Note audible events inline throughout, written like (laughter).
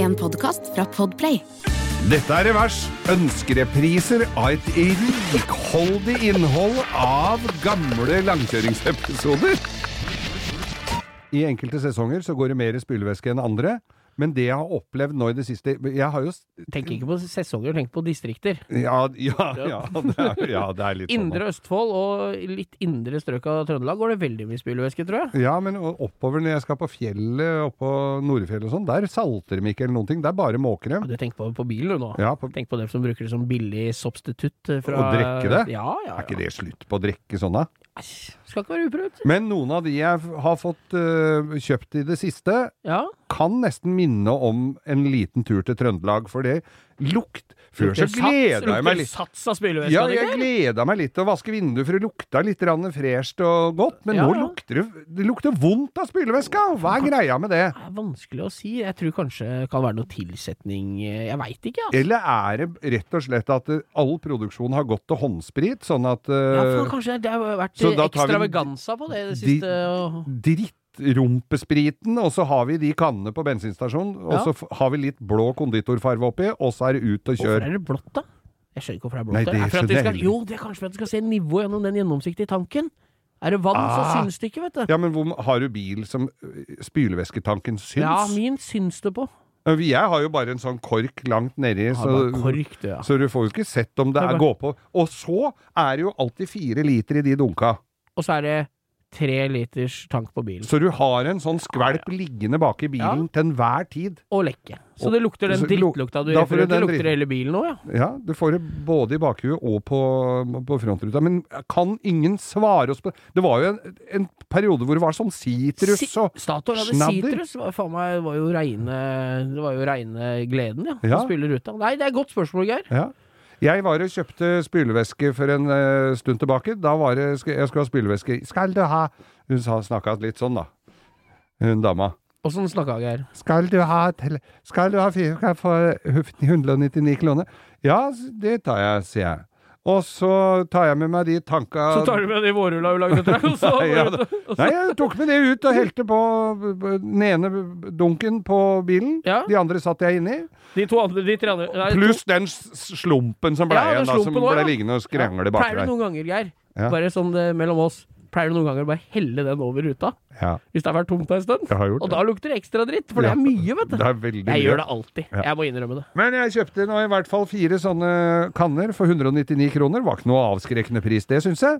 en podkast fra Podplay. Dette er Revers. Ønskerepriser av et rikholdig innhold av gamle langkjøringsepisoder. I enkelte sesonger så går det mer spylevæske enn andre. Men det jeg har opplevd nå i det siste Jeg har jo s- Tenk ikke på sesonger, tenk på distrikter. Ja, ja, ja, det, er, ja det er litt sånn. Indre Østfold og litt indre strøk av Trøndelag går det veldig mye spylevæske, tror jeg. Ja, men o- oppover når jeg skal på fjellet, oppå Nordfjellet og sånn, der salter de ikke eller noen ting. Det er bare Ja, måkrem. Du tenker på, på bilen du nå. Ja, på, Tenk på dem som bruker det som billig substitutt eh, fra Å drikke det? Ja, ja, ja. er ikke det slutt på å drikke sånne? Æsj, Skal ikke være uprøvd. Men noen av de jeg f- har fått øh, kjøpt i det siste, Ja. kan nesten minne om en liten tur til Trøndelag, for det lukt Før så Lukter sats- gleda jeg meg lukter litt. Sats av spylevæske, Ja, kan det jeg ikke? gleda meg litt til å vaske vinduet, for det lukta litt rann fresht og godt. Men Ja, nå ja. lukter det Det lukter vondt av spylevæska! Hva er greia med det? Det er vanskelig å si. Jeg tror kanskje det kan være noe tilsetning eh, Jeg veit ikke, altså. Eller er det rett og slett at eh, all produksjon har gått til håndsprit, sånn at Ja, eh, for kanskje det har vært så da tar vi- ekstravaganza på det i det De- siste. og- drittrumpespriten, og så har vi de kannene på bensinstasjonen, og Ja. så f- har vi litt blå konditorfarve oppi, og så er det ut og Hvorfor kjør. er det blått, da? Jeg skjønner ikke hvorfor det er blått. Nei, det det er for at skjønner vi jeg skal, heller jo, det er kanskje for at vi skal se nivået gjennom den gjennomsiktige tanken. Er det vann, så Ah. syns det ikke, vet du. Ja, men hvor, har du bil som ø, spylevæsketanken syns? Ja, min syns det på. Men Jeg har jo bare en sånn kork langt nedi, Ja, så, bare kork, du, ja. så du får jo ikke sett om det Det er er bare- gå på. Og så er det jo alltid fire liter i de dunka. Og så er det tre liters tank på bilen. Så du har en sånn skvelp liggende bak i bilen til enhver tid. Og lekke. Så Og- det lukter den så luk- drittlukta du da får du den refererte til. Lukter dritten. hele bilen òg, ja. Ja, du får det både i bakhuet og på, på frontruta. Men kan ingen svare oss på Det var jo en, en periode hvor det var sånn sitrus Si- og Statoil hadde snadder. sitrus. Det var- Faen meg, det var jo reine Det var jo reine gleden, ja. Ja. Å spille ruta. Nei, det er et godt spørsmål, Geir. ja. Jeg var og kjøpte spylevæske for en eh, stund tilbake. Da var det sk- Jeg skulle ha spylevæske. Skal du ha Hun sa- snakka litt sånn, da. Hun dama. Åssen snakka sånn Geir? Skal du ha tele... Skal du ha fire kan jeg få 199 kroner? Ja, det tar jeg, sier jeg. Og så tar jeg med meg de tanka Så tar du med de vårrulla du (laughs) lagde, tror jeg. og så- Ja, da. (laughs) Nei, jeg tok med det ut og helte på b- b- den ene b- dunken på bilen. Ja. De andre satt jeg inni. De to andre, de tre andre nei, to- Pluss den s- slumpen som ble Ja, den igjen, da, som slumpen også, ble ja. liggende og skrangle Ja. bak Pleier du der. noen ganger, Geir, Ja. bare sånn det, mellom oss, pleier du noen ganger å bare helle den over ruta? Ja, Hvis det har vært tomt en stund? jeg har gjort Og da lukter det ekstra dritt, for det Ja. er mye, vet du. det. Det er veldig Jeg mye. gjør det alltid. Ja. Jeg må innrømme det. Men jeg kjøpte nå i hvert fall fire sånne kanner for 199 kroner. Var ikke noe avskrekkende pris, det syns jeg.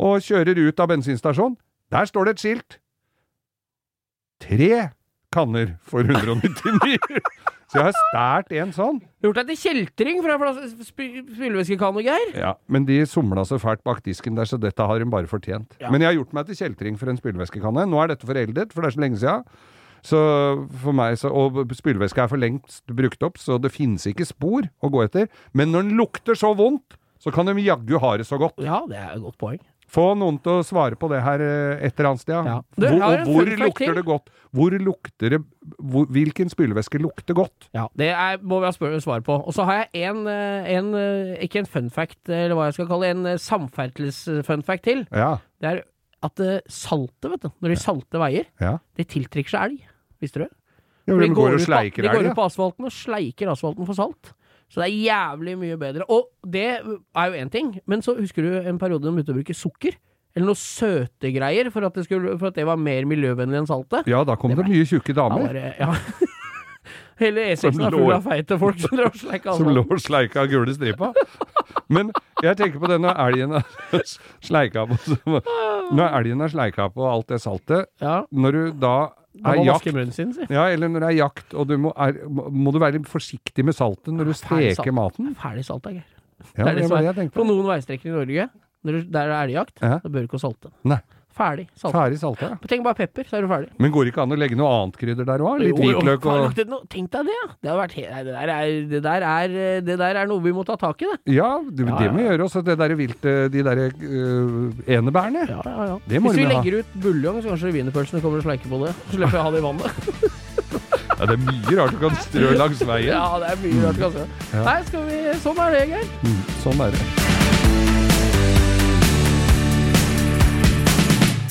Og kjører ut av bensinstasjonen. Der står det et skilt. Tre kanner for 199. (laughs) Så jeg har stært en sånn. Gjort deg til kjeltring fra flas- spy- spylevæskekanne, Geir. Ja, Men de somla så fælt bak disken der, så dette har hun bare fortjent. Ja. Men jeg har gjort meg til kjeltring for en spylevæskekanne. Nå er dette foreldet, for det er så lenge sia. Så for meg så, og spylevæske er for lengst brukt opp, så det finnes ikke spor å gå etter. Men når den lukter så vondt, så kan de jaggu ha det så godt. Ja, det er et godt poeng. Få noen til å svare på det her eh, et eller annet sted. Ja. ja. Du, jeg Hvor, har og en hvor fun fact til. lukter det godt? Hvor lukter det hvor, Hvilken spylevæske lukter godt? Ja, Det er, må vi ha spør- svar på. Og så har jeg en, eh, en eh, ikke en fun fact, eller hva jeg skal kalle det, en eh, samferdsels-fun fact til. Ja. Det er at eh, saltet, vet du, når de salter veier, ja. det tiltrekker seg elg. Visste du det? ja For de går og ut på- sleiker de går elg, ut på asfalten og sleiker asfalten for salt. Så det er jævlig mye bedre. Og det er jo én ting, men så husker du en periode de begynte å bruke sukker? Eller noe søte greier, for at det, skulle, for at det var mer miljøvennlig enn saltet. ja. ja, da kom det mye tjukke Da damer. var det- ja. (laughs) Hele E6-en Som er full lå- av feite folk som drar og (laughs) sleiker Som lå asfalten. og sleika av gule stripa. Men jeg tenker på det når elgen er (laughs) sleika på så- Når elgen er sleika på alt det saltet, Ja, når du da da er må jakt vaske munnen sin, si. ja, eller når det er jakt, og du må, er, må du være litt forsiktig med saltet når du Ferdig salt. steker maten. Ferdig salt, da, Geir. Ja, Det er det var det jeg På tenkte. noen veistrekninger i Norge, når du- der det er elgjakt, Ja. da bør du ikke salte. Nei. Ferdig salt. Ferdig saltet, ja. Tenk bare pepper, så er du ferdig. Men går det ikke an å legge noe annet krydder der òg? Litt Jo, jo, hvitløk faen, og lagt ut noe- Tenk deg det, ja. Det, har vært he nei, det, der er, det, der er, eh, det der er noe vi må ta tak i, det. Ja, det, Ja, det må vi ja. gjøre. også det derre viltet, de derre øh, enebærene. Ja, ja, ja. Det må du Hvis vi ha. legger ut buljong, så kanskje wienerpølsene kommer og sleiker på det. Så slipper jeg å ha det i vannet. Ja, det er mye rart du kan strø langs veien. Ja, det er mye rart, kanskje. Ja. Nei, skal vi Sånn er det, Geir. Mm, Sånn er det.